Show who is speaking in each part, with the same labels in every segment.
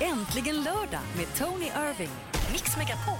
Speaker 1: Äntligen lördag med Tony Irving. Mix Megapol.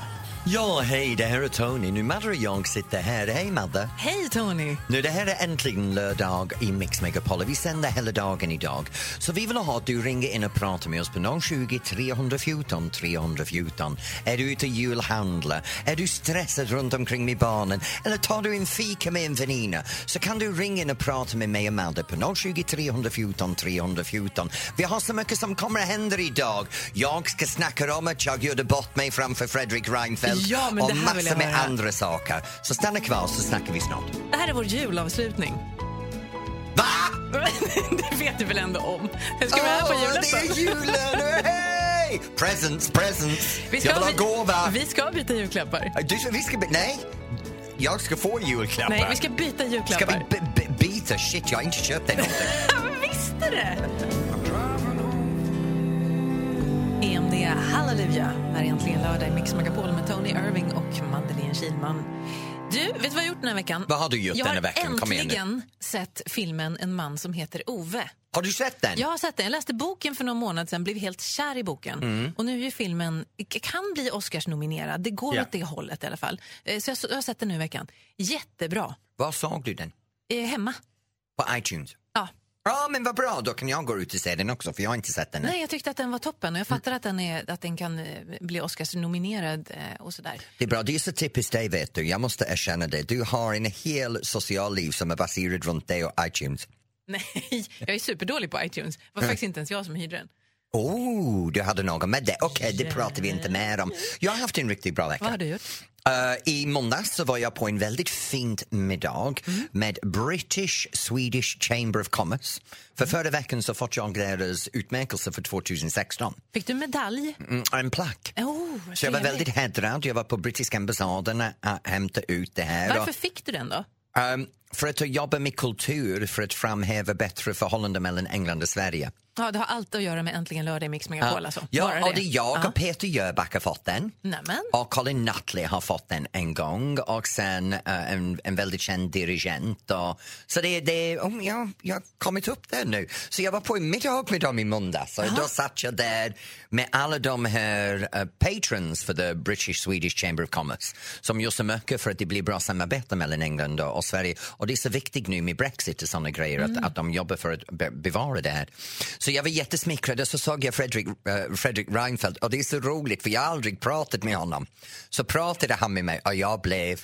Speaker 2: Ja, hej, det här är Tony. Nu Madde och jag sitter här. Hej, Madde.
Speaker 3: Hej Tony!
Speaker 2: Nu, det här är äntligen lördag i Mix Megapol. Vi sänder hela dagen idag. Så vi vill ha att du ringer in och pratar med oss på 020 314 314. Är du ute och julhandlar? Är du stressad runt omkring med barnen? Eller tar du en fika med en väninna? Så kan du ringa in och prata med mig och Madde på 020 314 314. Vi har så mycket som kommer att hända idag. Jag ska snacka om att jag gjorde bort mig framför Fredrik Reinfeldt
Speaker 3: Ja, men
Speaker 2: och
Speaker 3: det här vill
Speaker 2: massor
Speaker 3: jag
Speaker 2: med
Speaker 3: höra.
Speaker 2: andra saker. Så stanna kvar så snackar vi snart.
Speaker 3: Det här är vår julavslutning.
Speaker 2: Va?
Speaker 3: det vet du väl ändå om? Jag ska vara här på
Speaker 2: Åh, Det är
Speaker 3: julafton.
Speaker 2: julen! Hej! Presents, presents.
Speaker 3: Vi
Speaker 2: jag vill
Speaker 3: byta-
Speaker 2: ha gåva.
Speaker 3: Vi ska byta julklappar.
Speaker 2: Du, vi ska... by- Nej, jag ska få julklappar.
Speaker 3: Nej, vi ska byta
Speaker 2: Ska
Speaker 3: julklappar.
Speaker 2: vi b- b- byta? Shit, jag har inte köpt den.
Speaker 3: Men visste det! EMD E Halleluja. Här är äntligen lördag i Mix Megapol med Tony Irving och Madeleine Kilman. Du, vet du vad jag har gjort den här veckan?
Speaker 2: Vad har du gjort
Speaker 3: jag
Speaker 2: den här veckan? Kom
Speaker 3: har
Speaker 2: igen nu.
Speaker 3: äntligen sett filmen En man som heter Ove.
Speaker 2: Har du sett den?
Speaker 3: Jag har sett den. Jag läste boken för någon månad sedan, blev helt kär i boken.
Speaker 2: Mm.
Speaker 3: Och nu är ju filmen, k- kan bli Oscars-nominerad. Det går
Speaker 2: Ja.
Speaker 3: åt det hållet i alla fall. Eh, Så jag, så- jag har sett den nu i veckan. Jättebra.
Speaker 2: Var såg du den?
Speaker 3: Eh, hemma.
Speaker 2: På iTunes?
Speaker 3: Ja.
Speaker 2: Ja, men vad bra. Då kan jag gå ut och se den också, för jag har inte sett den än.
Speaker 3: Nej, jag tyckte att den var toppen och jag fattar att, den är, att den kan eh, bli Oscars-nominerad eh, och sådär.
Speaker 2: Det är bra, det är så typiskt dig vet du. Jag måste erkänna det. Du har en hel social liv som är baserad runt dig och iTunes.
Speaker 3: Nej, jag är superdålig på iTunes. Det var
Speaker 2: Mm.
Speaker 3: faktiskt inte ens jag som hyrde den.
Speaker 2: Oh, du hade någon med det. Okej, det pratar vi inte mer om. Jag har haft en riktigt bra vecka.
Speaker 3: Vad har du gjort?
Speaker 2: Eh, I måndags så var jag på en väldigt fint middag
Speaker 3: Mm.
Speaker 2: med British Swedish Chamber of Commerce.
Speaker 3: Mm.
Speaker 2: För förra veckan så fått jag deras utmärkelse för 2016.
Speaker 3: Fick du medalj?
Speaker 2: Mm, en plack.
Speaker 3: Oh,
Speaker 2: Så jag var
Speaker 3: trevligt.
Speaker 2: väldigt hedrad. Jag var på brittiska ambassaden att hämta ut det här.
Speaker 3: Varför
Speaker 2: Och-
Speaker 3: fick du den då?
Speaker 2: Ehm, för att jobba med kultur för att framhäva bättre förhållanden mellan England och Sverige.
Speaker 3: Ja, det har allt att göra med Äntligen lördag i Mix Megapol alltså. Bara
Speaker 2: Ja, och
Speaker 3: det.
Speaker 2: det är jag och Peter Jöback har fått den.
Speaker 3: Nämen.
Speaker 2: Och Colin Nutley har fått den en gång och sen eh, en, en väldigt känd dirigent. Och, så det, det, oh, ja, jag har kommit upp där nu. Så jag var på en middag med dem i måndags och då satt jag där med alla de här eh, patrons för the British Swedish Chamber of Commerce som gör så mycket för att det blir bra samarbete mellan England och, och Sverige. Och det är så viktigt nu med Brexit och såna grejer att, att de jobbar för att be- bevara det här. Så jag var jättesmickrad och så såg jag Fredrik, eh, Fredrik Reinfeldt och det är så roligt för jag har aldrig pratat med honom. Så pratade han med mig och jag blev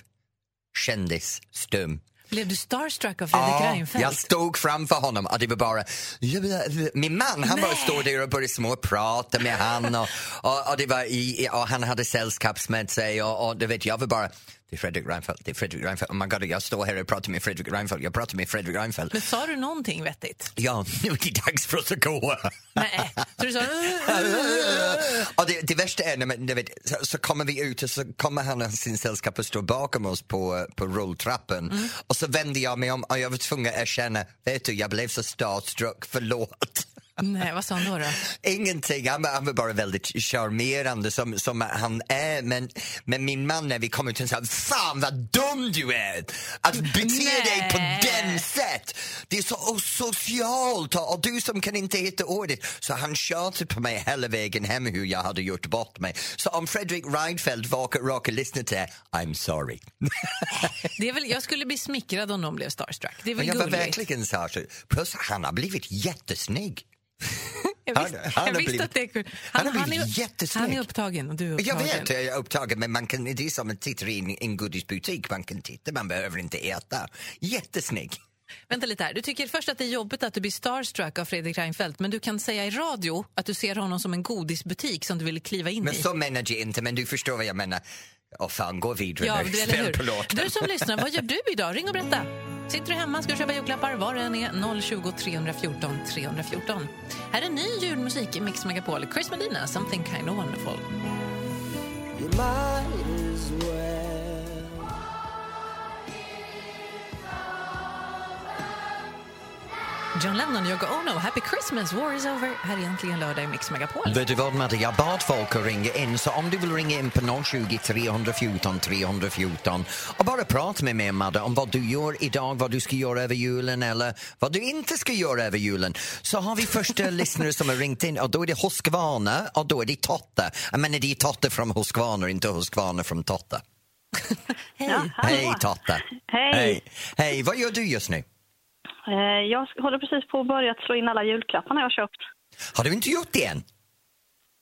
Speaker 2: kändisstum.
Speaker 3: Blev du starstruck av Fredrik
Speaker 2: Ja,
Speaker 3: Reinfeldt?
Speaker 2: jag stod framför honom och det var bara... eh, Min man han bara
Speaker 3: Nej.
Speaker 2: stod där och började småprata med han och, och, och, det var i, i- och han hade sällskaps med sig och, och du vet, jag var bara... Det är Fredrik Reinfeldt, det är Fredrik Reinfeldt. Oh my god, jag står här och pratar med Fredrik Reinfeldt. Jag pratar med Fredrik Reinfeldt.
Speaker 3: Men sa du någonting vettigt?
Speaker 2: Ja, nu är det dags för oss att gå.
Speaker 3: Nej. Så du sa... "Mm."
Speaker 2: och det, det värsta är, när man, du vet, så, så kommer vi ut och så kommer han och sin sällskap och står bakom oss på, på rulltrappan och så vände jag mig om och jag var tvungen att erkänna, vet du, jag blev så starstruck, förlåt.
Speaker 3: Nej, vad sa han då? då?
Speaker 2: Ingenting, han, var- han var bara väldigt charmerande som, som han är men, men min man när vi kom ut han sa Fan vad dum du är! Att bete dig på
Speaker 3: Nej.
Speaker 2: den sätt! Det är så osocialt och, och du som kan inte hitta ordet. Så han tjatade på mig hela vägen hem hur jag hade gjort bort mig. Så om Fredrik Reinfeldt vakar råkar lyssna till det, I'm sorry.
Speaker 3: Det är väl, jag skulle bli smickrad om någon blev starstruck. Det är väl
Speaker 2: Men jag var
Speaker 3: gulligt?
Speaker 2: verkligen särskild. Plus han har blivit jättesnygg.
Speaker 3: Jag visste,
Speaker 2: Han- han
Speaker 3: jag
Speaker 2: har
Speaker 3: visste
Speaker 2: blivit-
Speaker 3: att det är kul.
Speaker 2: han har blivit
Speaker 3: är-
Speaker 2: jättesnygg.
Speaker 3: Han är upptagen och du är
Speaker 2: Jag
Speaker 3: upptagen.
Speaker 2: vet, jag är upptagen, men man kan, det är som att titta i en, en godisbutik. Man kan titta, man behöver inte äta. Jättesnygg.
Speaker 3: Vänta lite här. Du tycker först att det är jobbigt att du blir starstruck av Fredrik Reinfeldt men du kan säga i radio att du ser honom som en godisbutik som du vill kliva in
Speaker 2: Men
Speaker 3: i.
Speaker 2: så menar jag inte, men du förstår vad jag menar. Åh fan, gå vidare
Speaker 3: Ja,
Speaker 2: nu.
Speaker 3: du, eller
Speaker 2: Spel på
Speaker 3: hur?
Speaker 2: låten.
Speaker 3: Du som lyssnar, vad gör du idag? Ring och berätta. Sitter du hemma, ska du köpa julklappar, var du än är, 020 314 314. Här är ny julmusik i Mix Megapol. Chris Medina, Something Kind of Wonderful. John Lennon, Yoko Ono, Happy Christmas, War is over. Här är äntligen lördag i Mix Megapol.
Speaker 2: Vet du vad Madde, jag bad folk att ringa in så om du vill ringa in på 020 314 314 och bara prata med mig Madde om vad du gör idag, vad du ska göra över julen eller vad du inte ska göra över julen. Så har vi första lyssnare som har ringt in och då är det Husqvarna och då är det Totte. Jag menar det är Totte från Husqvarna, inte Husqvarna från Totte.
Speaker 4: Ja, hallå.
Speaker 2: Hej Totte!
Speaker 4: Hej.
Speaker 2: Hej! Hej, vad gör du just nu?
Speaker 4: Eh, Jag håller precis på att börja slå in alla julklapparna jag har köpt.
Speaker 2: Har du inte gjort det än?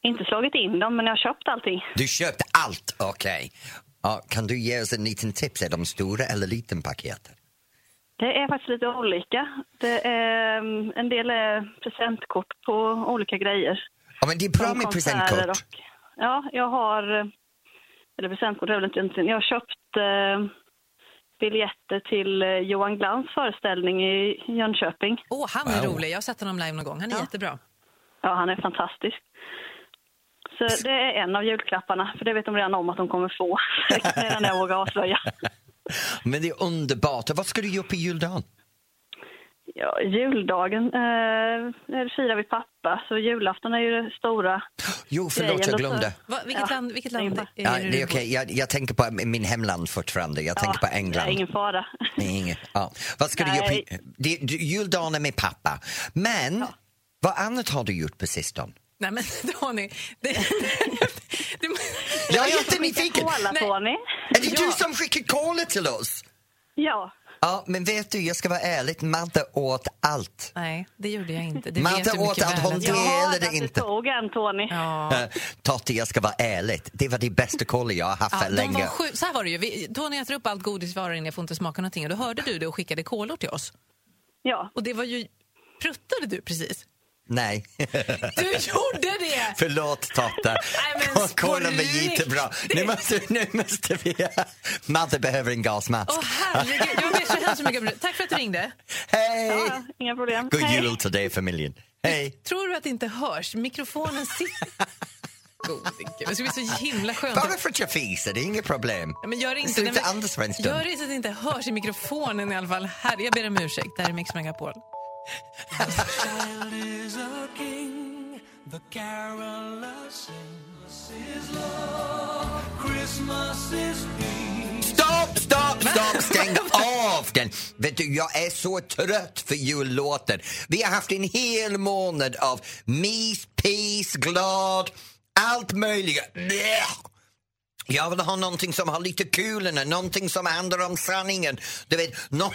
Speaker 4: Inte slagit in dem, men jag har köpt allting.
Speaker 2: Du köpte allt, okej. Ja, kan du ge oss en liten tips? Är de stora eller liten paketet?
Speaker 4: Det är faktiskt lite olika. Det är, mm, en del är presentkort på olika grejer.
Speaker 2: Ja, men det är bra
Speaker 4: Som
Speaker 2: med
Speaker 4: konserter
Speaker 2: presentkort.
Speaker 4: och- ja, jag har... eh, Eller presentkort är väl inte egentligen. Jag har köpt eh, biljetter till eh, Johan Glans föreställning i Jönköping.
Speaker 3: Åh, han är
Speaker 2: Wow.
Speaker 3: rolig. Jag har sett honom live någon gång. Han är jättebra.
Speaker 4: Ja, han är fantastisk. Så det är en av julklapparna, för det vet de redan om att de kommer få. Det är den jag vågar avslöja.
Speaker 2: Men det är underbart. Och vad ska du göra på juldagen?
Speaker 4: Ja, juldagen eh, det firar vi pappa, så julafton är ju det stora.
Speaker 2: Jo, förlåt,
Speaker 4: Grejen
Speaker 2: jag
Speaker 4: och
Speaker 2: glömde.
Speaker 4: så-
Speaker 3: Va, vilket
Speaker 4: Ja,
Speaker 3: land, vilket
Speaker 4: det är
Speaker 3: land
Speaker 4: bra.
Speaker 2: Ja,
Speaker 3: det
Speaker 2: det är
Speaker 3: du bor
Speaker 2: okej.
Speaker 3: i?
Speaker 2: Jag, jag tänker på min hemland fortfarande. Jag tänker på England.
Speaker 4: Det är ingen fara.
Speaker 2: Nej, inget. Ja. Vad ska du göra på...
Speaker 4: Nej.
Speaker 2: det, du, juldagen är med pappa. Men vad annat har du gjort på sistone?
Speaker 3: Nej, men Tony. Det, det, det,
Speaker 2: Jag är jättenyfiken.
Speaker 4: Kolla
Speaker 3: Nej.
Speaker 4: på ni.
Speaker 2: Är det du
Speaker 3: Ja.
Speaker 2: som skickar kolet till oss?
Speaker 4: Ja,
Speaker 2: Ja, men vet du, jag ska vara ärlig. Madde åt allt.
Speaker 3: nej, det gjorde jag inte. Det
Speaker 2: Madde
Speaker 3: vet du
Speaker 2: åt
Speaker 3: mycket
Speaker 2: att
Speaker 3: väl
Speaker 2: hon
Speaker 3: att
Speaker 2: Det
Speaker 4: jag
Speaker 3: jag-
Speaker 2: gäller
Speaker 4: hörde
Speaker 2: det
Speaker 4: att du
Speaker 2: inte.
Speaker 4: tog en Tony.
Speaker 3: Ja.
Speaker 2: Eh, Totte, jag ska vara ärlig. Det var det bästa kollet jag har haft
Speaker 3: Ja,
Speaker 2: för
Speaker 3: de var
Speaker 2: länge.
Speaker 3: sju, så här var det ju. Vi, Tony äter upp allt godis vi har inne, jag får inte smaka någonting. Och då hörde du det och skickade kolor till oss.
Speaker 4: Ja.
Speaker 3: Och det var ju... Pruttade du precis?
Speaker 2: Nej.
Speaker 3: Du gjorde det!
Speaker 2: Förlåt Totte.
Speaker 3: men
Speaker 2: Ko- Kolla
Speaker 3: på
Speaker 2: mig jättebra. Nu måste, nu måste vi... Madde behöver en gasmask.
Speaker 3: Åh herregud, jag ber så hemskt mycket. Tack för att du ringde.
Speaker 2: Hej!
Speaker 4: ja, inga problem.
Speaker 2: God
Speaker 4: Hej.
Speaker 2: jul till dig familjen. Hej!
Speaker 3: Tror du att det inte hörs? Mikrofonen sitter... Gode gud, det ska bli så himla skönt.
Speaker 2: Bara för att jag fiser, det är inget problem.
Speaker 3: Ja, Men gör inte
Speaker 2: Sluta
Speaker 3: nej, men-
Speaker 2: andas för en stund.
Speaker 3: Gör det så att det inte hörs i mikrofonen i alla fall. Här, jag ber om ursäkt, det här är Mix Megapol.
Speaker 2: Stopp, stopp, stopp! Stäng av den! Vet du, jag är så trött för jullåten. Vi har haft en hel månad av mys, pis, glad, allt möjligt. Blech! Jag vill ha någonting som har lite kulorna, någonting som handlar om sanningen. Du vet, nå-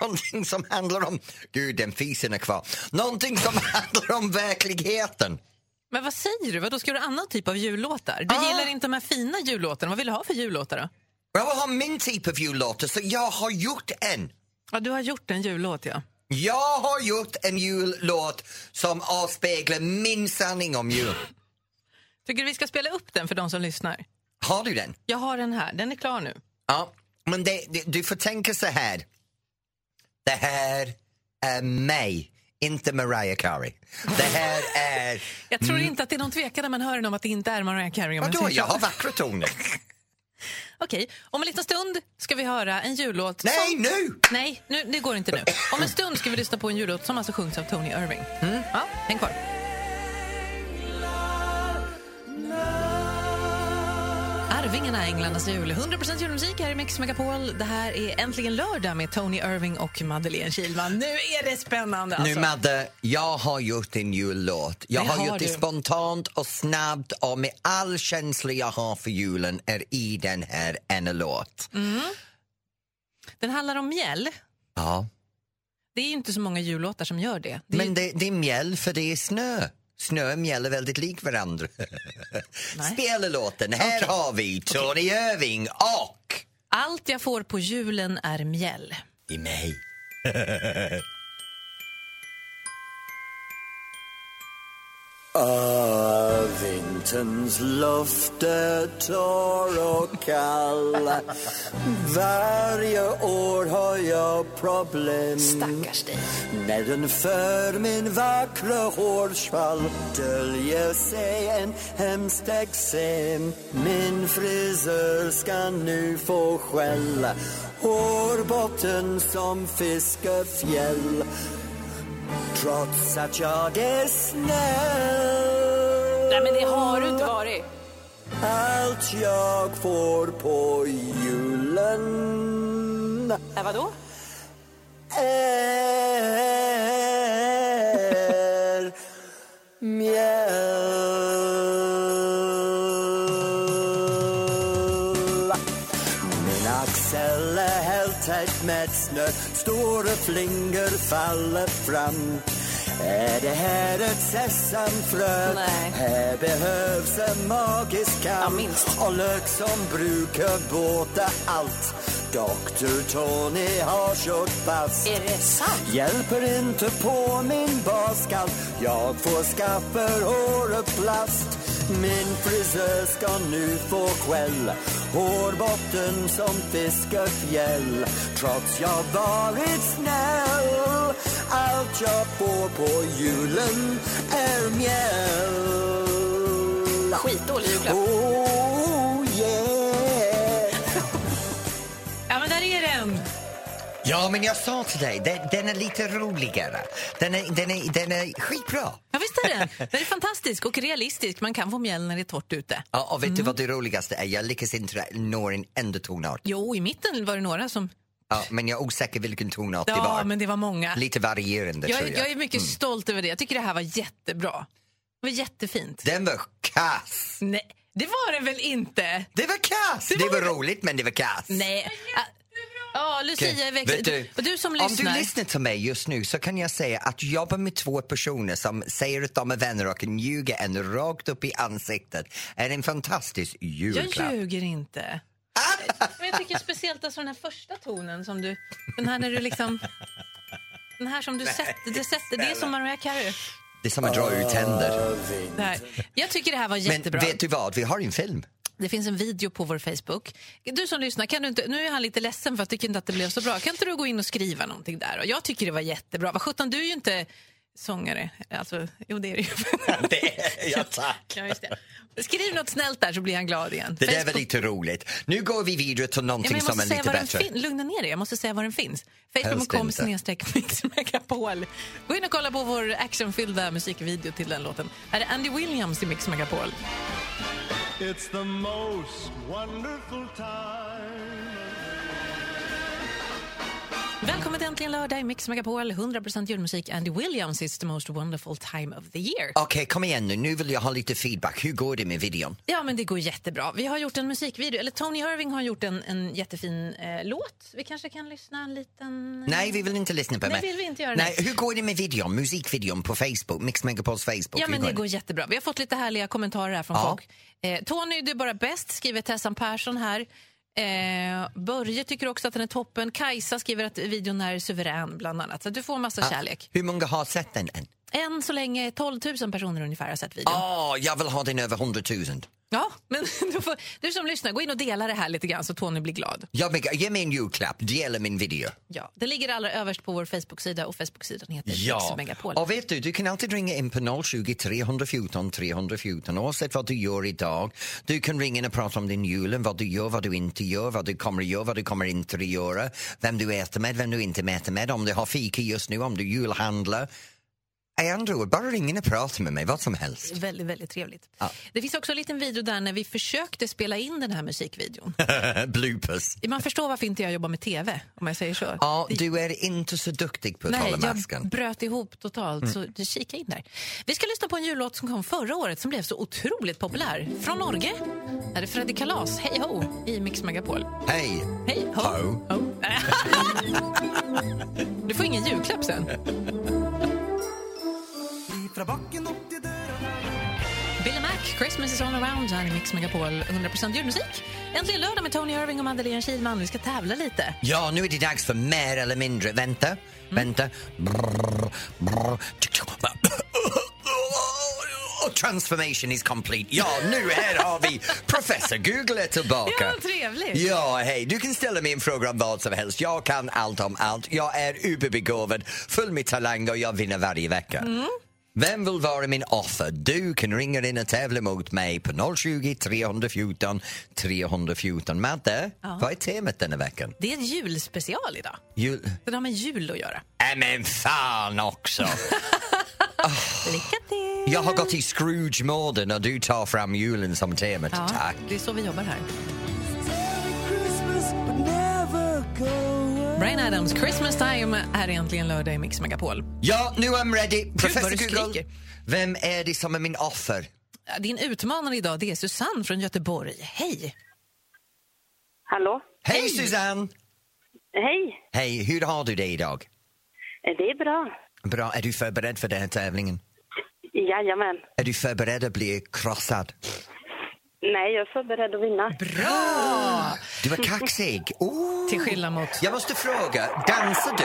Speaker 2: någonting som handlar om... Gud, den fisen är kvar. Någonting som handlar om verkligheten.
Speaker 3: Men vad säger du? Vadå, ska du ha annan typ av jullåtar? Du
Speaker 2: Ah.
Speaker 3: gillar inte de här fina jullåtarna. Vad vill du ha för jullåtar då?
Speaker 2: Jag vill ha min typ av jullåt, så jag har gjort en.
Speaker 3: Ja, du har gjort en jullåt, ja.
Speaker 2: Jag har gjort en jullåt som avspeglar min sanning om jul.
Speaker 3: Tycker du vi ska spela upp den för de som lyssnar?
Speaker 2: Har du den?
Speaker 3: Jag har den här, den är klar nu.
Speaker 2: Ja. Men det, det, du får tänka så här. Det här är mig, inte Mariah Carey. Det här är...
Speaker 3: Jag tror inte att det är någon tvekan när man hör den om att det inte är Mariah Carey. Om jag
Speaker 2: Mm. Vadå,
Speaker 3: säger
Speaker 2: jag
Speaker 3: så.
Speaker 2: har vackra toner.
Speaker 3: Okej, om en liten stund ska vi höra en jullåt.
Speaker 2: Nej,
Speaker 3: som...
Speaker 2: nu!
Speaker 3: Nej, nu, det går inte nu. Om en stund ska vi lyssna på en jullåt som alltså sjungs av Tony Irving.
Speaker 2: Mm.
Speaker 3: Ja, häng kvar. Arvingarna, Englands jul. 100% julmusik här i Mix Megapol. Det här är äntligen lördag med Tony Irving och Madeleine Kilman. Nu är det spännande! Alltså.
Speaker 2: Nu Madde, jag har gjort en jullåt. Jag
Speaker 3: Det
Speaker 2: har
Speaker 3: har
Speaker 2: gjort det
Speaker 3: du.
Speaker 2: spontant och snabbt och med all känsla jag har för julen är i den här en låt.
Speaker 3: Mm. Den handlar om mjäll.
Speaker 2: Ja.
Speaker 3: Det är ju inte så många jullåtar som gör det. det är
Speaker 2: Men det, det är mjäll för det är snö. Snö och mjäll är väldigt lik varandra.
Speaker 3: Nej.
Speaker 2: Spela låten. Här har vi Tony Irving och...
Speaker 3: Allt jag får på julen är mjäll.
Speaker 2: I mig.
Speaker 5: Irvingtons löfte torr och kalla Varje år har jag problem
Speaker 1: Stackars dig.
Speaker 5: När den för min vackra hårskvall döljer sig en hemskt eksem Min frisör ska nu få skälla hårbotten som fiskefjäll trots er att jag är snäll.
Speaker 6: Nej, men det har du inte varit.
Speaker 5: Allt jag får på julen
Speaker 6: Äh, vadå?
Speaker 5: Eh. är mjöl. Min axel är helt täckt med snö, stora flingor faller fram. Är det här ett sesamfrö?
Speaker 6: Nej.
Speaker 5: Här behövs en magisk kam.
Speaker 6: Ja, minst.
Speaker 5: Och lök som brukar båta allt. Dr Tony har kört fast.
Speaker 6: Är det sant?
Speaker 5: Hjälper inte på min baskall Jag får skaffer håret plast Min frisör ska nu få skäll Hårbotten som fiskefjäll Trots jag varit snäll Allt jag får på julen är mjäll
Speaker 6: Skitdålig julklapp.
Speaker 5: Oh yeah
Speaker 3: Ja, men där är den!
Speaker 2: Ja, men jag sa till dig, den, den är lite roligare. Den är, den är, den är skitbra.
Speaker 3: Ja, visst är den. Den är fantastisk och realistisk. Man kan få mjäll när det är torrt ute.
Speaker 2: Ja, och vet
Speaker 3: Mm.
Speaker 2: du vad det roligaste är? Jag lyckas inte nå en enda tonart.
Speaker 3: Jo, i mitten var det några som...
Speaker 2: Ja, men jag är osäker vilken tonart det
Speaker 3: Ja,
Speaker 2: var.
Speaker 3: men det var många.
Speaker 2: Lite varierande,
Speaker 3: Jag,
Speaker 2: tror
Speaker 3: är-
Speaker 2: jag. Mm.
Speaker 3: jag är mycket stolt över det. Jag tycker det här var jättebra. Det var jättefint.
Speaker 2: Den var kass!
Speaker 3: Nej, det var det väl inte?
Speaker 2: Det var kass! Det var, roligt, men det var kass.
Speaker 3: Nej. Ah, Ja, Lucia är växel.
Speaker 2: Vet
Speaker 3: Du, och du som
Speaker 2: Om du
Speaker 3: lyssnar.
Speaker 2: lyssnar till mig just nu så kan jag säga att jobba med två personer som säger att de är vänner och kan ljuga en rakt upp i ansiktet är en fantastisk julklapp.
Speaker 3: jag ljuger inte. Men jag tycker speciellt alltså den här första tonen som du... Den här när du liksom... Den här som du sätter. Det, sätter, det är som Mariah Carey.
Speaker 2: Det är som att dra ut tänder.
Speaker 3: Det här. Jag tycker det här var
Speaker 2: Men
Speaker 3: jättebra.
Speaker 2: vet du vad, vi har en film.
Speaker 3: Det finns en video på vår Facebook. Du som lyssnar, kan du inte, nu är han lite ledsen för jag tycker inte att det blev så bra. Kan inte du gå in och skriva någonting där? Och jag tycker det var jättebra. Vad sjutton, du är ju inte sångare. Alltså, jo, det är du ju.
Speaker 2: Det är jag, tack.
Speaker 3: ja, just det. Skriv något snällt där så blir han glad igen.
Speaker 2: Det där var
Speaker 3: Facebook-
Speaker 2: lite roligt. Nu går vi vidare till
Speaker 3: Ja,
Speaker 2: någonting
Speaker 3: men jag
Speaker 2: som är
Speaker 3: måste säga
Speaker 2: lite
Speaker 3: var den
Speaker 2: bättre.
Speaker 3: fin- Lugna ner dig, jag måste säga var den finns. Facebook.com
Speaker 2: inte.
Speaker 3: snedstreck Mix Megapol. Gå in och kolla på vår actionfyllda musikvideo till den låten. Här är Andy Williams i Mix Megapol.
Speaker 7: It's the most wonderful time.
Speaker 3: Välkommen till Äntligen lördag i Mix Megapol. 100% julmusik. Andy Williams is the most wonderful time of the year.
Speaker 2: Okej, kom igen nu. Nu vill jag ha lite feedback. Hur går det med videon?
Speaker 3: Ja, men det går jättebra. Vi har gjort en musikvideo. Eller Tony Irving har gjort en, en jättefin eh, låt. Vi kanske kan lyssna en liten...
Speaker 2: Nej, vi vill inte lyssna på
Speaker 3: Nej,
Speaker 2: mig.
Speaker 3: vill vi inte göra
Speaker 2: Nej,
Speaker 3: det.
Speaker 2: hur går det med videon, musikvideon på Facebook, Mix Megapols Facebook?
Speaker 3: Ja,
Speaker 2: Hur
Speaker 3: men det går jättebra. Vi har fått lite härliga kommentarer här från
Speaker 2: Ja.
Speaker 3: folk. Eh, Tony, du är bara bäst, skriver Tessan Persson här. Eh, Börje tycker också att den är toppen. Kajsa skriver att videon är suverän, bland annat. Så att du får massa kärlek.
Speaker 2: Hur många har sett den än?
Speaker 3: Än så länge 12 000 personer ungefär har sett videon.
Speaker 2: Åh, jag vill ha den över 100 000.
Speaker 3: Ja, men du, får, du som lyssnar, gå in och dela det här lite grann så Tony blir glad.
Speaker 2: Jag vill, ge mig en julklapp, dela min video.
Speaker 3: Ja, det ligger allra överst på vår Facebook-sida och Facebook-sidan heter Mix Megapol.
Speaker 2: och vet du, du kan alltid ringa in på 020 314 314 oavsett vad du gör idag. Du kan ringa in och prata om din julen, vad du gör, vad du inte gör, vad du kommer att göra, vad du kommer inte att göra, vem du äter med, vem du inte äter med, om du har fika just nu, om du julhandlar. I andra ord, bara ring in och prata med mig, vad som helst.
Speaker 3: Väldigt, väldigt trevligt. Det finns också en liten video där när vi försökte spela in den här musikvideon.
Speaker 2: Bloopers.
Speaker 3: Man förstår varför inte jag jobbar med tv, om jag säger så.
Speaker 2: Ja, du är inte så duktig på att
Speaker 3: Nej,
Speaker 2: hålla
Speaker 3: jag
Speaker 2: masken.
Speaker 3: bröt ihop totalt, så kika in där. Vi ska lyssna på en jullåt som kom förra året som blev så otroligt populär. Från Norge. Här är Freddy Kalas, Hej ho, i Mix Megapol.
Speaker 2: Hej!
Speaker 3: Hej ho.
Speaker 2: Ho.
Speaker 3: Ho. Oh. du får ingen julklapp sen. Billy Mac, Christmas is all around här i Mix Megapol. 100% julmusik. Äntligen lördag med Tony Irving och Madeleine Kihlman. Vi ska tävla lite.
Speaker 2: Ja, nu är det dags för mer eller mindre. Vänta,
Speaker 3: Mm.
Speaker 2: vänta. Brr, brr, tsk, tsk. Och Transformation is complete. Ja, nu här har vi professor Google är tillbaka.
Speaker 3: Ja, vad trevligt.
Speaker 2: Ja, hej. Du kan ställa mig en fråga om vad som helst. Jag
Speaker 3: Mm.
Speaker 2: kan allt om allt. Jag är uberbegåvad, full med talang och jag vinner varje vecka. Vem vill vara min offer? Du kan ringa in och tävla mot mig på 020 314 314. Madde, vad är temat denna veckan?
Speaker 3: Det är en julspecial idag.
Speaker 2: Jul...
Speaker 3: Den har med jul att göra.
Speaker 2: Äh, men fan också!
Speaker 3: Lycka till!
Speaker 2: Jag har gått i Scrooge-mode när du tar fram julen som temat.
Speaker 3: Ja,
Speaker 2: Tack!
Speaker 3: Det är så vi jobbar här.
Speaker 5: Christmas but never go away.
Speaker 3: Brian Adams, Christmas time är äntligen lördag i Mix Megapol.
Speaker 2: Ja, nu är jag ready!
Speaker 3: vad du
Speaker 2: Professor Google,
Speaker 3: skriker.
Speaker 2: vem är det som är min offer?
Speaker 3: Din utmanare idag det är Susanne från Göteborg. Hej!
Speaker 8: Hallå?
Speaker 2: Hej Susanne!
Speaker 8: Hej,
Speaker 2: Hej, hur har du det idag?
Speaker 8: Eh, det är bra.
Speaker 2: Bra, är du förberedd för den här tävlingen?
Speaker 8: Jajamän.
Speaker 2: Är du förberedd att bli krossad?
Speaker 8: Nej, jag är så beredd att vinna.
Speaker 2: Bra! Du är kaxig. Oh.
Speaker 3: Till skillnad mot...
Speaker 2: Jag måste fråga, dansar du?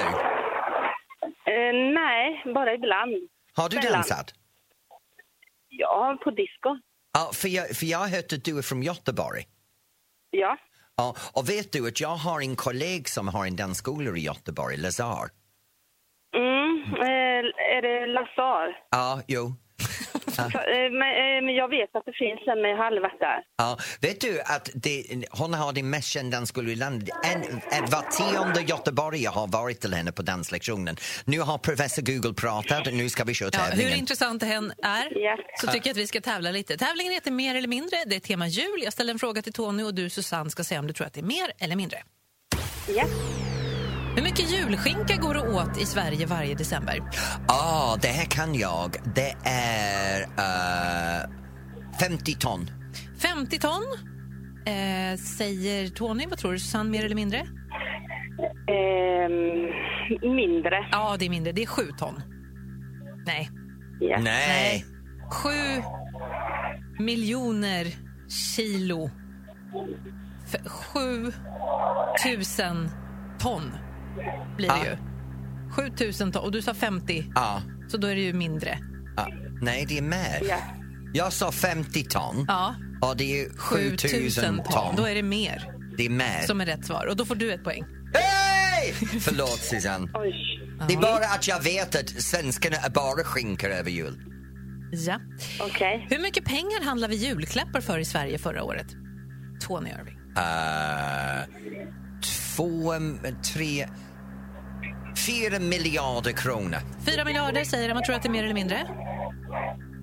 Speaker 8: Eh, nej, bara ibland.
Speaker 2: Har du
Speaker 8: Sällan.
Speaker 2: dansat?
Speaker 8: Ja, på disco.
Speaker 2: Ja, för, jag, för jag har hört att du är från Göteborg.
Speaker 8: Ja.
Speaker 2: Ja, och vet du att jag har en kollega som har en dansskola i Göteborg, Lazar.
Speaker 8: Mm, eh, är det Lazar?
Speaker 2: Ja, jo.
Speaker 8: Eh, men, eh, men jag vet att det finns en, men jag har aldrig varit där.
Speaker 2: Ja, vet du att det, hon har den mest kända dansskolan i landet. En, en, var tionde göteborgare har varit till henne på danslektionen. Nu har professor Google pratat och nu ska vi köra
Speaker 3: Ja, hur
Speaker 2: tävlingen.
Speaker 3: intressant det än är
Speaker 8: Ja.
Speaker 3: så tycker jag att vi ska tävla lite. Tävlingen heter Mer eller mindre. Det är tema jul. Jag ställer en fråga till Tony och du Susanne ska säga om du tror att det är mer eller mindre.
Speaker 8: Ja.
Speaker 3: Hur mycket julskinka går det åt i Sverige varje december?
Speaker 2: Ja, det här kan jag. Det är eh, 50 ton.
Speaker 3: 50 ton eh, säger Tony. Vad tror du Susanne, mer eller mindre?
Speaker 8: Ehm, mindre.
Speaker 3: Ja, det är mindre. Det är 7 ton. Nej,
Speaker 8: Ja.
Speaker 2: Nej.
Speaker 3: 7 miljoner kilo. 7 000 ton blir det ju. 7 000 ton. Och du sa 50,
Speaker 2: Ja.
Speaker 3: så då är det ju mindre.
Speaker 2: ja. Nej, det är mer.
Speaker 8: Ja.
Speaker 2: Jag sa 50 ton.
Speaker 3: Ja,
Speaker 2: Och det är
Speaker 3: 7 000
Speaker 2: 7000 ton.
Speaker 3: Då är det mer
Speaker 2: Det är mer.
Speaker 3: som är rätt svar. Och då får du ett poäng.
Speaker 2: Hej! Förlåt, Susanne.
Speaker 8: Oj.
Speaker 2: Det är bara att jag vet att svenskarna är bara skinkor över jul.
Speaker 3: Ja.
Speaker 8: Okej.
Speaker 3: Hur mycket pengar handlade vi julklappar för i Sverige förra året? Tony Irving.
Speaker 2: Eh, två, m- tre, fyra miljarder kronor.
Speaker 3: 4 miljarder säger han. Man tror att det är mer eller mindre.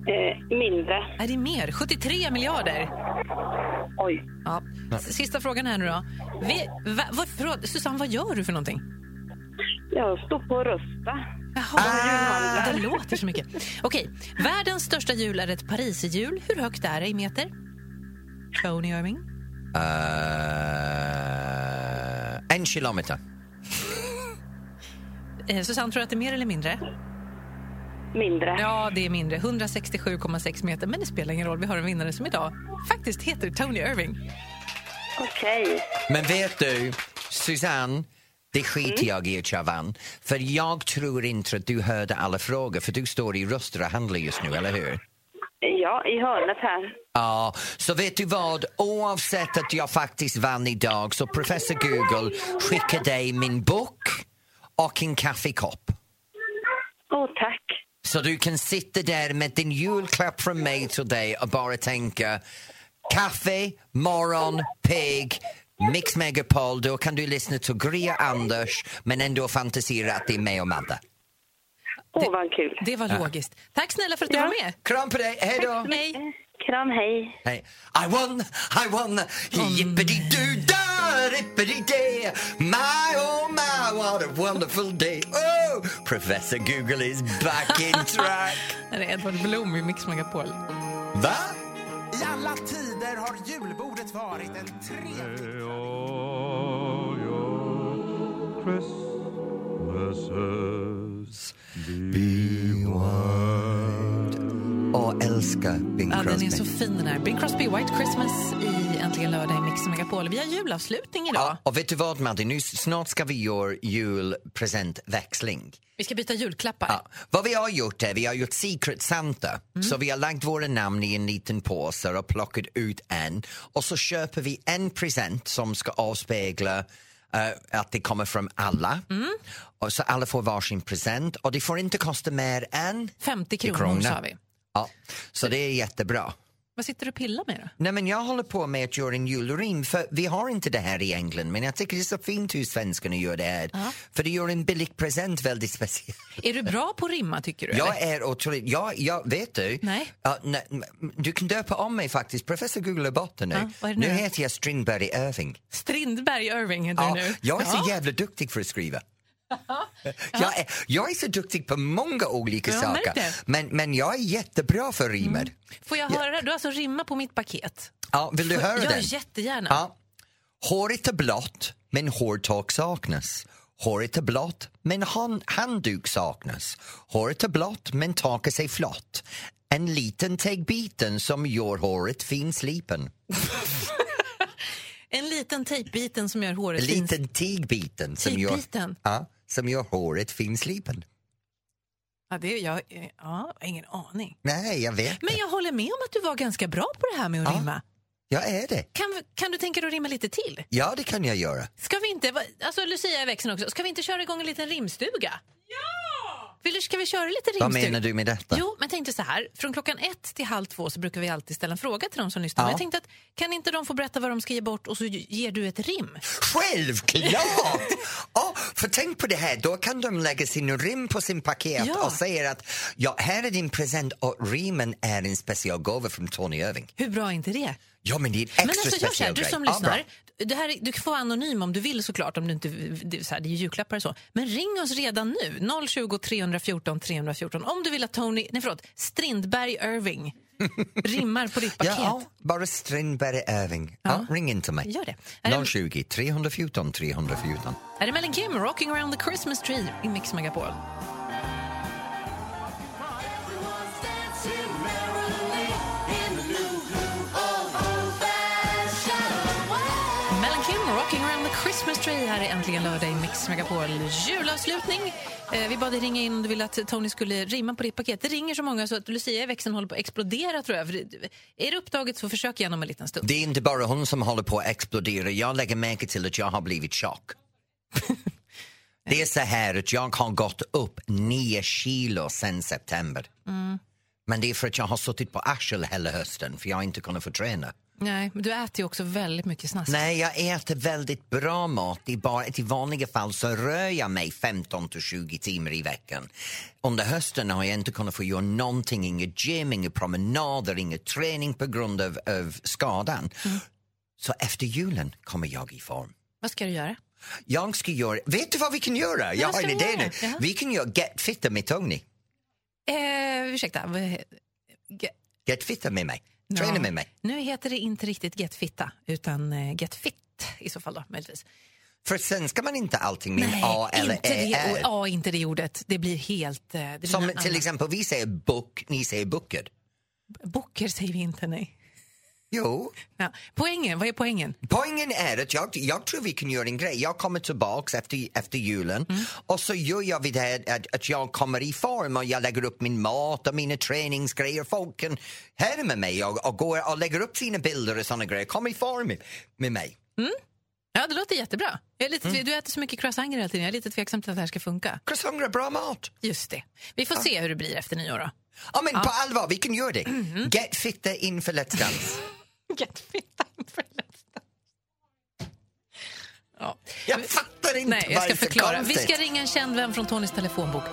Speaker 8: Eh, mindre.
Speaker 3: Är det mer? 73 miljarder?
Speaker 8: Oj.
Speaker 3: Ja. S- Sista frågan här nu då. Vi, va, vad, förlåt, Susanne, vad gör du för någonting?
Speaker 8: Jag står på och rösta.
Speaker 3: Jaha, det låter så mycket. Okej, världens största hjul är ett pariserhjul. Hur högt är det i meter? Tony Irving.
Speaker 2: Eh, en kilometer.
Speaker 3: Eh, Susanne, tror du att det är mer eller mindre?
Speaker 8: Mindre.
Speaker 3: Ja, det är mindre. 167,6 meter. Men det spelar ingen roll, vi har en vinnare som idag faktiskt heter Tony Irving.
Speaker 8: Okej.
Speaker 2: Men vet du, Susanne, det skiter jag i att jag vann. För jag tror inte att du hörde alla frågor, för du står i röster och handlar just nu, eller hur?
Speaker 8: Ja, i hörnet här.
Speaker 2: Ja, så vet du vad? Oavsett att jag faktiskt vann idag så professor Google skickar dig min bok och en kaffekopp.
Speaker 8: Åh, tack.
Speaker 2: Så du kan sitta där med din julklapp från mig till dig och bara tänka kaffe, morgon, pigg, Mix Megapol. Då kan du lyssna till Gria Anders men ändå fantisera att det är mig och Madde.
Speaker 8: Åh, vad kul.
Speaker 3: Det var logiskt. Tack snälla för att du var med.
Speaker 2: Kram på dig, hej då!
Speaker 3: Hej.
Speaker 8: Kram, hej.
Speaker 2: Hej. I won, I won, jippity-doo-da, rippity-day My oh my, what a wonderful day Oh, Professor Google is back in track
Speaker 3: Det är Edvard Blom i Mix Megapol.
Speaker 2: Va?
Speaker 9: I alla tider har julbordet varit en trevlig
Speaker 2: Och älskar Bing
Speaker 3: Ja, den är så
Speaker 2: Crosby
Speaker 3: fin den här. Bing Crosby, White Christmas i Äntligen lördag i Mix Megapol. Vi har julavslutning idag.
Speaker 2: Ja, och vet du vad Madde, nu snart ska vi göra julpresentväxling.
Speaker 3: Vi ska byta julklappar.
Speaker 2: Ja. Vad vi har gjort är, vi har gjort Secret Santa. Så vi har lagt våra namn i en liten påse och plockat ut en. Och så köper vi en present som ska avspegla eh, att det kommer från alla. Och så alla får varsin present och det får inte kosta mer än
Speaker 3: 50 kronor, sa vi.
Speaker 2: Ja, så det är jättebra.
Speaker 3: Vad sitter du och pillar med då?
Speaker 2: Nej, men jag håller på med att göra en julrim, för vi har inte det här i England men jag tycker det är så fint hur svenskarna gör det här. För det gör en billig present väldigt speciell.
Speaker 3: Är du bra på att rimma tycker du?
Speaker 2: Jag
Speaker 3: eller?
Speaker 2: är otroligt... Jag, jag, vet du?
Speaker 3: Nej.
Speaker 2: Ja, nej, m- du kan döpa om mig faktiskt. Professor googlar bort det nu.
Speaker 3: Ja, vad är det
Speaker 2: nu
Speaker 3: nu?
Speaker 2: heter jag Strindberg Irving.
Speaker 3: Strindberg Irving heter
Speaker 2: Ja,
Speaker 3: du nu.
Speaker 2: jag är så
Speaker 3: Ja.
Speaker 2: jävla duktig för att skriva. jag, är, jag är så duktig på många olika
Speaker 3: Jag har märkt
Speaker 2: saker.
Speaker 3: det.
Speaker 2: Men, men jag är jättebra för rimmer.
Speaker 3: Får jag höra? Du har alltså rimma på mitt paket.
Speaker 2: Ja, vill du höra
Speaker 3: jag
Speaker 2: den?
Speaker 3: jättegärna.
Speaker 2: Ja. Håret är blått, men hårtork saknas. Håret är blått, men hand- handduk saknas. Håret är blått, men taket sig flott. En liten tegbiten som gör håret finslipen.
Speaker 3: En liten tejpbiten som gör håret
Speaker 2: En
Speaker 3: fint.
Speaker 2: liten tegbiten som gör,
Speaker 3: Tejpbiten?
Speaker 2: ja, som gör håret finslipen.
Speaker 3: Ja, det, jag, eh, ja, jag har ingen aning.
Speaker 2: Nej, jag vet.
Speaker 3: Men jag håller med om att du var ganska bra på det här med att
Speaker 2: Ja.
Speaker 3: rimma.
Speaker 2: Jag är det.
Speaker 3: Kan, kan du tänka dig att rimma lite till?
Speaker 2: Ja, det kan jag göra.
Speaker 3: Ska vi inte, va- alltså Lucia är växeln också, ska vi inte köra igång en liten rimstuga? Ja! Vill, du- ska vi köra lite rimstuga?
Speaker 2: Vad menar du med detta?
Speaker 3: Jo, men tänkte så här, från klockan ett till halv två så brukar vi alltid ställa en fråga till de som lyssnar. Men jag tänkte att kan inte de få berätta vad de ska ge bort och så ger du ett rim?
Speaker 2: Självklart! Ja, för tänk på det här, då kan de lägga sin rim på sin paket
Speaker 3: Ja.
Speaker 2: och säga att ja, här är din present och rimmen är en specialgåva från Tony Irving.
Speaker 3: Hur bra är inte det?
Speaker 2: Ja, men det är en extra
Speaker 3: Men alltså, jag
Speaker 2: speciell
Speaker 3: säger, du
Speaker 2: grej.
Speaker 3: som
Speaker 2: Ja, bra.
Speaker 3: lyssnar, det här, är- du kan få vara anonym om du vill såklart, om du inte, det, är så här, det är ju julklappar och så. Men ring oss redan nu, 020 314 314, om du vill att Tony, nej förlåt, Strindberg Irving rimmar på ditt paket.
Speaker 2: Ja, bara Strindberg Irving. Ja. ring in till mig.
Speaker 3: Gör det. Är det-
Speaker 2: 020 314 314.
Speaker 3: Här är Melanie Kim, Rocking around the Christmas tree i Mix Megapol. Melanie Kim, Rocking around the Christmas tree här är äntligen lördag i Mix Megapol. Julavslutning. Eh, vi bad dig ringa in om du ville att Tony skulle rimma på ditt paket. Det ringer så många så att Lucia i växeln håller på att explodera tror jag. För det, är det upptaget så försök igen om en liten stund.
Speaker 2: Det är inte bara hon som håller på att explodera. Jag lägger märke till att jag har blivit tjock. det är så här att jag har gått upp nio kilo sen september. Men det är för att jag har suttit på arsel hela hösten för jag har inte kunnat få träna.
Speaker 3: Nej, men du äter ju också väldigt mycket snask.
Speaker 2: Nej, jag äter väldigt bra mat. I, bara, I vanliga fall så rör jag mig 15 till 20 timmar i veckan. Under hösten har jag inte kunnat få göra någonting, inget gym, inga promenader, ingen träning på grund av, av skadan.
Speaker 3: Mm.
Speaker 2: Så efter julen kommer jag i form.
Speaker 3: Vad ska du göra?
Speaker 2: Jag ska göra... Vet du vad vi kan göra? Jag
Speaker 3: vad
Speaker 2: har
Speaker 3: ska
Speaker 2: en
Speaker 3: vi
Speaker 2: idé
Speaker 3: göra?
Speaker 2: nu.
Speaker 3: Jaha.
Speaker 2: Vi kan göra Get fitta med Tony.
Speaker 3: Eh, ursäkta. vad he- ge-
Speaker 2: Get fitta med mig. Träna
Speaker 3: Ja.
Speaker 2: med mig.
Speaker 3: Nu heter det inte riktigt Get fitta, utan eh, Get fit i så fall. Då, möjligtvis.
Speaker 2: För sen ska man inte allting med A eller
Speaker 3: inte
Speaker 2: E.
Speaker 3: det,
Speaker 2: R.
Speaker 3: och, ja, inte det ordet. Det blir helt... eh, Det blir
Speaker 2: Som
Speaker 3: någon
Speaker 2: till
Speaker 3: annan.
Speaker 2: exempel, vi säger book, ni säger bucket.
Speaker 3: Bocker säger vi inte, nej.
Speaker 2: Jo.
Speaker 3: Ja. Poängen, vad är poängen?
Speaker 2: Poängen är att jag, jag tror vi kan göra en grej. Jag kommer tillbaks efter, efter julen
Speaker 3: Mm.
Speaker 2: och så gör jag vid det här att, att jag kommer i form och jag lägger upp min mat och mina träningsgrejer. Folk kan härma mig och, och, går och lägger upp sina bilder och såna grejer. Kom i form med, med mig.
Speaker 3: Ja, det låter jättebra. Jag är lite,
Speaker 2: Mm.
Speaker 3: Du äter så mycket croissanter hela tiden. Jag är lite tveksam till att det här ska funka.
Speaker 2: Croissanter är bra mat.
Speaker 3: Just det. Vi får se hur det blir efter nyår då.
Speaker 2: Ja, men På allvar, vi kan göra det.
Speaker 3: Mhm.
Speaker 2: Get fitta inför Let's Dance.
Speaker 3: Get fitta inför nästa. Ja.
Speaker 2: Jag fattar inte
Speaker 3: Nej, jag
Speaker 2: varför
Speaker 3: ska förklara. Vi
Speaker 2: konstigt.
Speaker 3: ska ringa en känd vän från Tonys telefonbok.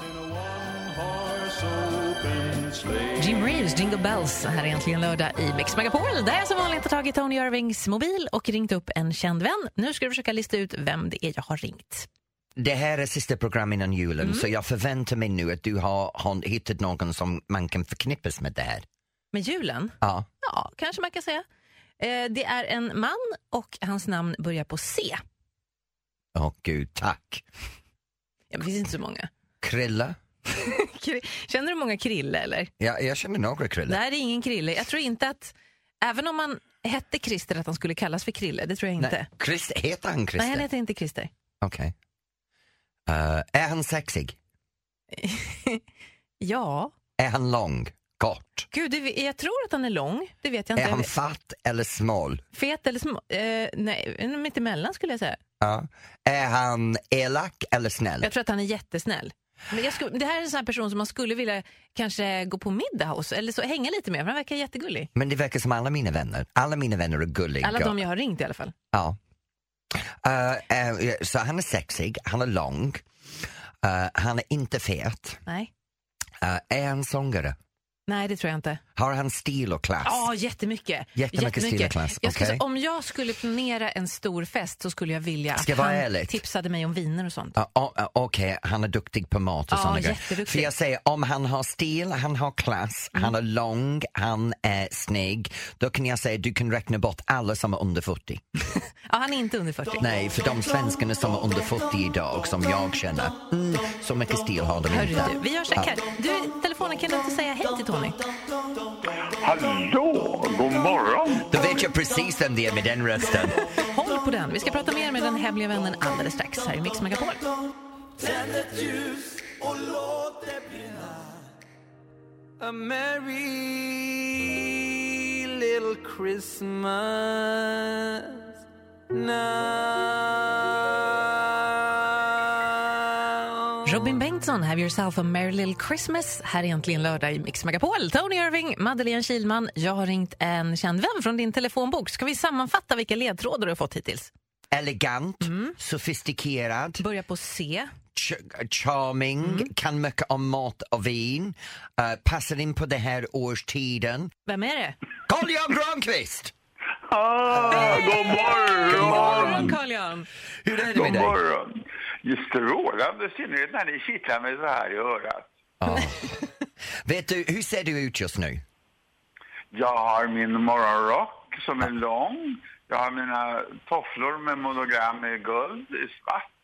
Speaker 3: Jim Reeves, Jingle Bells. Här är äntligen lördag i Mix Megapol där jag som vanligt har tagit Tony Irvings mobil och ringt upp en känd vän. Nu ska du försöka lista ut vem det är jag har ringt.
Speaker 2: Det här är sista programmet innan julen
Speaker 3: Mm.
Speaker 2: så jag förväntar mig nu att du har, har hittat någon som man kan förknippas med det här.
Speaker 3: Med julen?
Speaker 2: Ja.
Speaker 3: Ja, kanske man kan säga. Eh, Det är en man och hans namn börjar på C.
Speaker 2: Åh gud, tack.
Speaker 3: Ja, men det finns inte så många.
Speaker 2: Krilla?
Speaker 3: Kri- Känner du många Krille eller?
Speaker 2: Ja, jag känner några krilla.
Speaker 3: Nej, det är ingen Krille. Jag tror inte att, även om man hette Christer, att han skulle kallas för Krille. Det tror jag inte. Nej,
Speaker 2: Christ, heter han Christer?
Speaker 3: han heter inte Christer.
Speaker 2: Okej. Eh, är han sexig?
Speaker 3: Ja.
Speaker 2: Är han lång? Kort?
Speaker 3: Gud, det, jag tror att han är lång. Det vet jag
Speaker 2: Är
Speaker 3: inte.
Speaker 2: han fatt eller smal?
Speaker 3: Fet eller smal? Eh, nej, mitt emellan skulle jag säga.
Speaker 2: Ja. Är han elak eller snäll?
Speaker 3: Jag tror att han är jättesnäll. Men jag skulle, det här är en sån här person som man skulle vilja kanske gå på middag hos eller så hänga lite med för han verkar jättegullig.
Speaker 2: Men det verkar som alla mina vänner. Alla mina vänner är gulliga.
Speaker 3: Alla de jag har ringt i alla fall.
Speaker 2: Ja. Eh, eh, så han är sexig, han är lång, eh, han är inte fet.
Speaker 3: Nej,
Speaker 2: Eh, är han sångare?
Speaker 3: Nej det tror jag inte.
Speaker 2: Har han stil och klass?
Speaker 3: Ja, jättemycket.
Speaker 2: Jättemycket stilarklass,
Speaker 3: Jag skulle
Speaker 2: okej.
Speaker 3: säga, om jag skulle planera en stor fest så skulle jag vilja att
Speaker 2: Ska jag
Speaker 3: han
Speaker 2: vara ärlig?
Speaker 3: tipsade mig om viner och sånt.
Speaker 2: Ja, ja, ja, Okej, han är duktig på mat och
Speaker 3: Ja,
Speaker 2: sådana grejer.
Speaker 3: jätteduktig. Mm.
Speaker 2: För jag säger, om han har stil, han har klass, han är lång, han är snygg, då kan jag säga du kan räkna bort alla som är under 40.
Speaker 3: Ja, han är inte under 40.
Speaker 2: Nej, för de svenskarna som är under 40 idag, som jag känner, mm, så mycket stil har de
Speaker 3: Hörru
Speaker 2: inte.
Speaker 3: du, vi gör så här. Du, telefonen, kan du inte säga hej till Tony?
Speaker 10: Hallå, god morgon!
Speaker 2: Då vet jag precis vem det är med den rösten.
Speaker 3: Håll på den. Vi ska prata mer med den hemliga vännen alldeles strax här i Mix Megapol.
Speaker 11: A merry little Christmas now.
Speaker 3: Robin Bengtsson, Have yourself a merry little Christmas. Här är äntligen lördag i Mix Megapol. Tony Irving, Madeleine Kilman. Jag har ringt en känd vän från din telefonbok. Ska vi sammanfatta vilka ledtrådar du har fått hittills?
Speaker 2: Elegant,
Speaker 3: Mm.
Speaker 2: sofistikerad.
Speaker 3: Börja på C.
Speaker 2: ch- charming,
Speaker 3: Mm.
Speaker 2: kan mycket om mat och vin, eh, passar in på den här årstiden.
Speaker 3: Vem är det?
Speaker 2: Carl-Jan Granqvist!
Speaker 10: Ah, god morgon!
Speaker 2: God morgon,
Speaker 3: Carl-Jan!
Speaker 2: Hur är det med
Speaker 10: God
Speaker 2: dig?
Speaker 10: morgon! Det är strålande, i synnerhet när ni kittlar mig så här i örat.
Speaker 2: Ja. Vet du, hur ser du ut just nu?
Speaker 10: Jag har min morgonrock som är lång. Jag har mina tofflor med monogram i guld, i svart.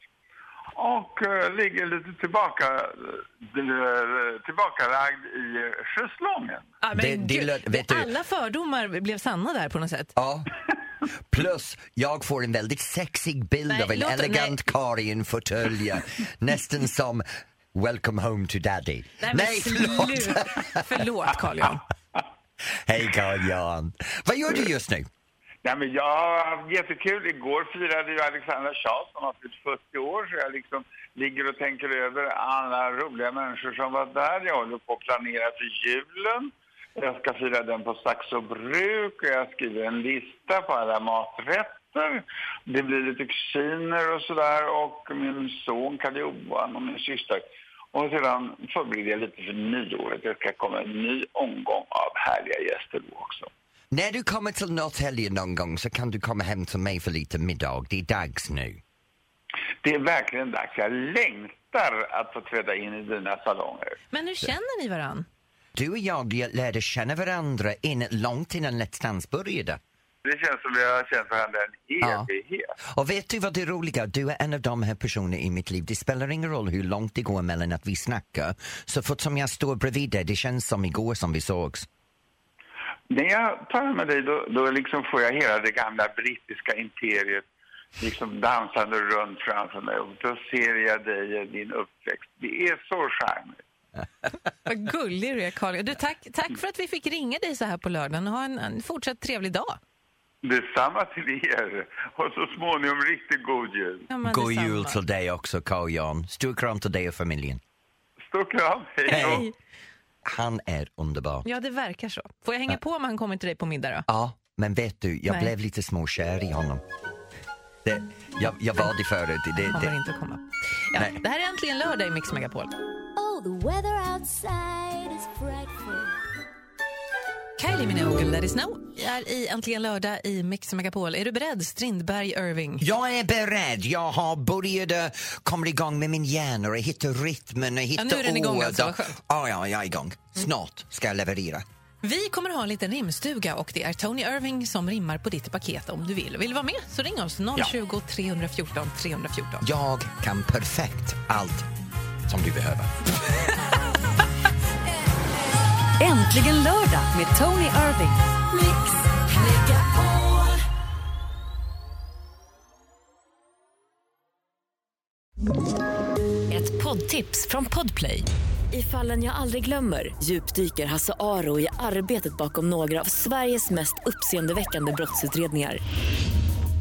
Speaker 10: Och eh, ligger lite tillbaka, uh, tillbakalagd i schäslongen.
Speaker 3: Ah, men
Speaker 2: Det- det
Speaker 3: gud.
Speaker 2: lö- vet du-
Speaker 3: Alla fördomar blev sanna där på något sätt.
Speaker 2: Ja. Plus, jag får en väldigt sexig bild
Speaker 3: Nej,
Speaker 2: av en
Speaker 3: låt-
Speaker 2: elegant karl i en fåtölj. Nästan som Welcome home to daddy.
Speaker 3: Nej, men slut. Förlåt, Carl-Jan.
Speaker 2: Hej Carl-Jan! Vad gör du just nu?
Speaker 10: Nej, men jag har haft jättekul. Igår firade ju Alexandra Charles som har fyllt 40 år. Så jag liksom ligger och tänker över alla roliga människor som var där. Jag håller på att planera för julen. Jag ska fira den på Saxo Bruk och jag skriver en lista på alla maträtter. Det blir lite kusiner och sådär och min son Karl Johan och min syster. Och sedan förbereder jag lite för nyåret. Det ska komma en ny omgång av härliga gäster då också.
Speaker 2: När du kommer till Norrtälje någon gång så kan du komma hem till mig för lite middag. Det är dags nu.
Speaker 10: Det är verkligen dags. Jag längtar att få träda in i dina salonger.
Speaker 3: Men hur känner ni varann?
Speaker 2: Du och jag lärde känna varandra in, långt innan Let's Dance började.
Speaker 10: Det känns som vi har känt varandra en
Speaker 2: Ja.
Speaker 10: evighet.
Speaker 2: Och vet du vad det roliga? Du är en av de här personerna i mitt liv. Det spelar ingen roll hur långt det går mellan att vi snackar. Så fort som jag står bredvid dig, det känns som igår som vi sågs.
Speaker 10: När jag talar med dig då, då liksom får jag hela det gamla brittiska imperiet liksom dansande runt framför mig. Och då ser jag dig i din uppväxt. Det är så charmigt.
Speaker 3: Vad gullig du är, Carl. Du, tack, tack för att vi fick ringa dig så här på lördagen. Ha en, en fortsatt trevlig dag.
Speaker 10: Detsamma till er. Och så småningom riktigt god jul.
Speaker 3: Ja, men
Speaker 2: God
Speaker 3: detsamma.
Speaker 2: jul till dig också, Carl Jan. Stor kram till dig och familjen.
Speaker 10: Stor kram. Hej då.
Speaker 3: Hej.
Speaker 2: Han är underbar.
Speaker 3: Ja, det verkar så. Får jag hänga på om han kommer till dig på middag då?
Speaker 2: Ja, men vet du, jag
Speaker 3: Nej.
Speaker 2: blev lite småkär i honom. Det, jag, jag var det förut. Det,
Speaker 3: Han
Speaker 2: det,
Speaker 3: kommer inte att komma. Ja,
Speaker 2: Nej.
Speaker 3: det här är äntligen lördag i Mix Megapol.
Speaker 12: Oh, the weather outside is frightful.
Speaker 3: Kylie Minogue, Let it snow, är i Äntligen lördag i Mix Megapol. Är du beredd, Strindberg Irving?
Speaker 2: Jag är beredd. Jag har börjat eh, komma igång med min hjärna och hitta rytmen och hitta
Speaker 3: nu är den igång alltså, vad skönt.
Speaker 2: Ja, ja, jag är igång. Snart ska jag leverera.
Speaker 3: Vi kommer ha en liten rimstuga och det är Tony Irving som rimmar på ditt paket om du vill. Vill du vara med så ring oss 020 314 314.
Speaker 2: Jag kan perfekt allt som du behöver.
Speaker 1: Äntligen lördag med Tony Irving. Mix Megapol.
Speaker 13: Ett poddtips från Podplay. I fallen jag aldrig glömmer djupdyker Hasse Aro i arbetet bakom några av Sveriges mest uppseendeväckande brottsutredningar.